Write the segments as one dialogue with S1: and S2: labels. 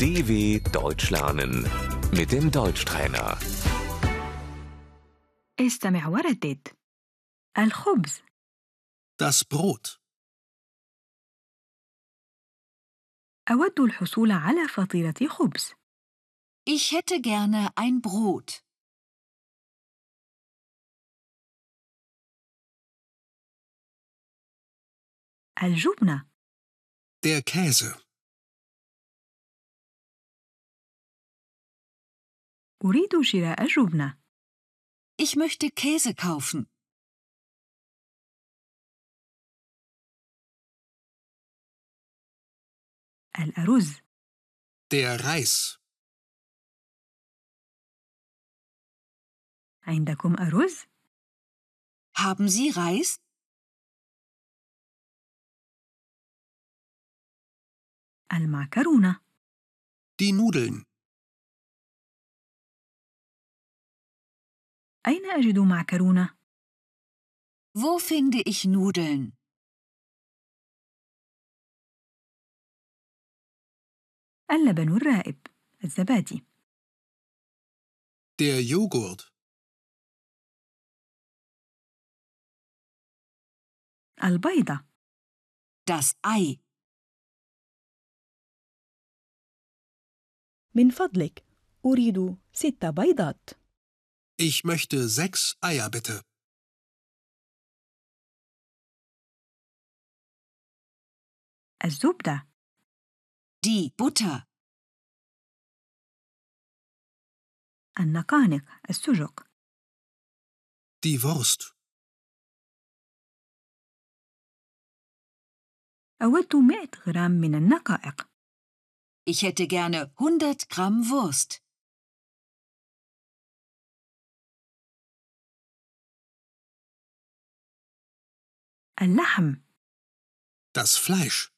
S1: DW Deutsch lernen mit dem Deutschtrainer.
S2: استمع وردد الخبز
S3: Das Brot.
S2: أود الحصول على فطيرة خبز
S4: Ich hätte gerne ein Brot.
S2: الجبنة
S3: Der Käse.
S2: أريد شراء جبنة
S4: Ich möchte Käse kaufen.
S2: الأرز
S3: Der Reis.
S2: عندكم أرز؟
S4: Haben Sie Reis?
S2: المعكرونة
S3: Die Nudeln.
S2: أين أجد معكرونة؟
S4: Wo finde ich Nudeln?
S2: اللبن الرائب الزبادي
S3: Der Joghurt.
S2: البيضة
S4: Das Ei.
S5: من فضلك أريد ست بيضات
S3: Ich möchte sechs Eier bitte.
S2: الزبدة
S4: Die Butter.
S2: النقانق السجق
S3: Die Wurst.
S2: أود 100 غرام من النقائق
S4: Ich hätte gerne 100 Gramm Wurst.
S2: اللحم
S3: Das Fleisch.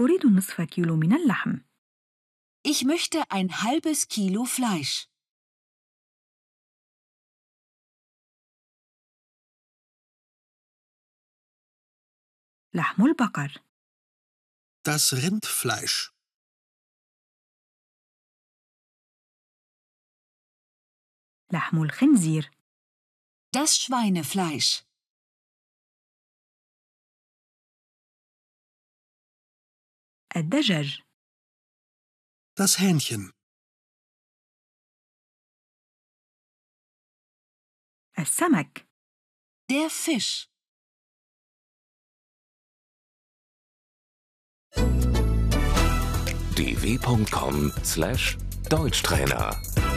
S2: أريد نصف كيلو من اللحم
S4: Ich möchte ein halbes Kilo Fleisch.
S2: لحم البقر
S3: Das Rindfleisch.
S2: لحم الخنزير
S4: Das Schweinefleisch.
S2: الدجاج
S3: Das Hähnchen.
S2: السمك
S4: Der Fisch.
S1: dw.com/deutschtrainer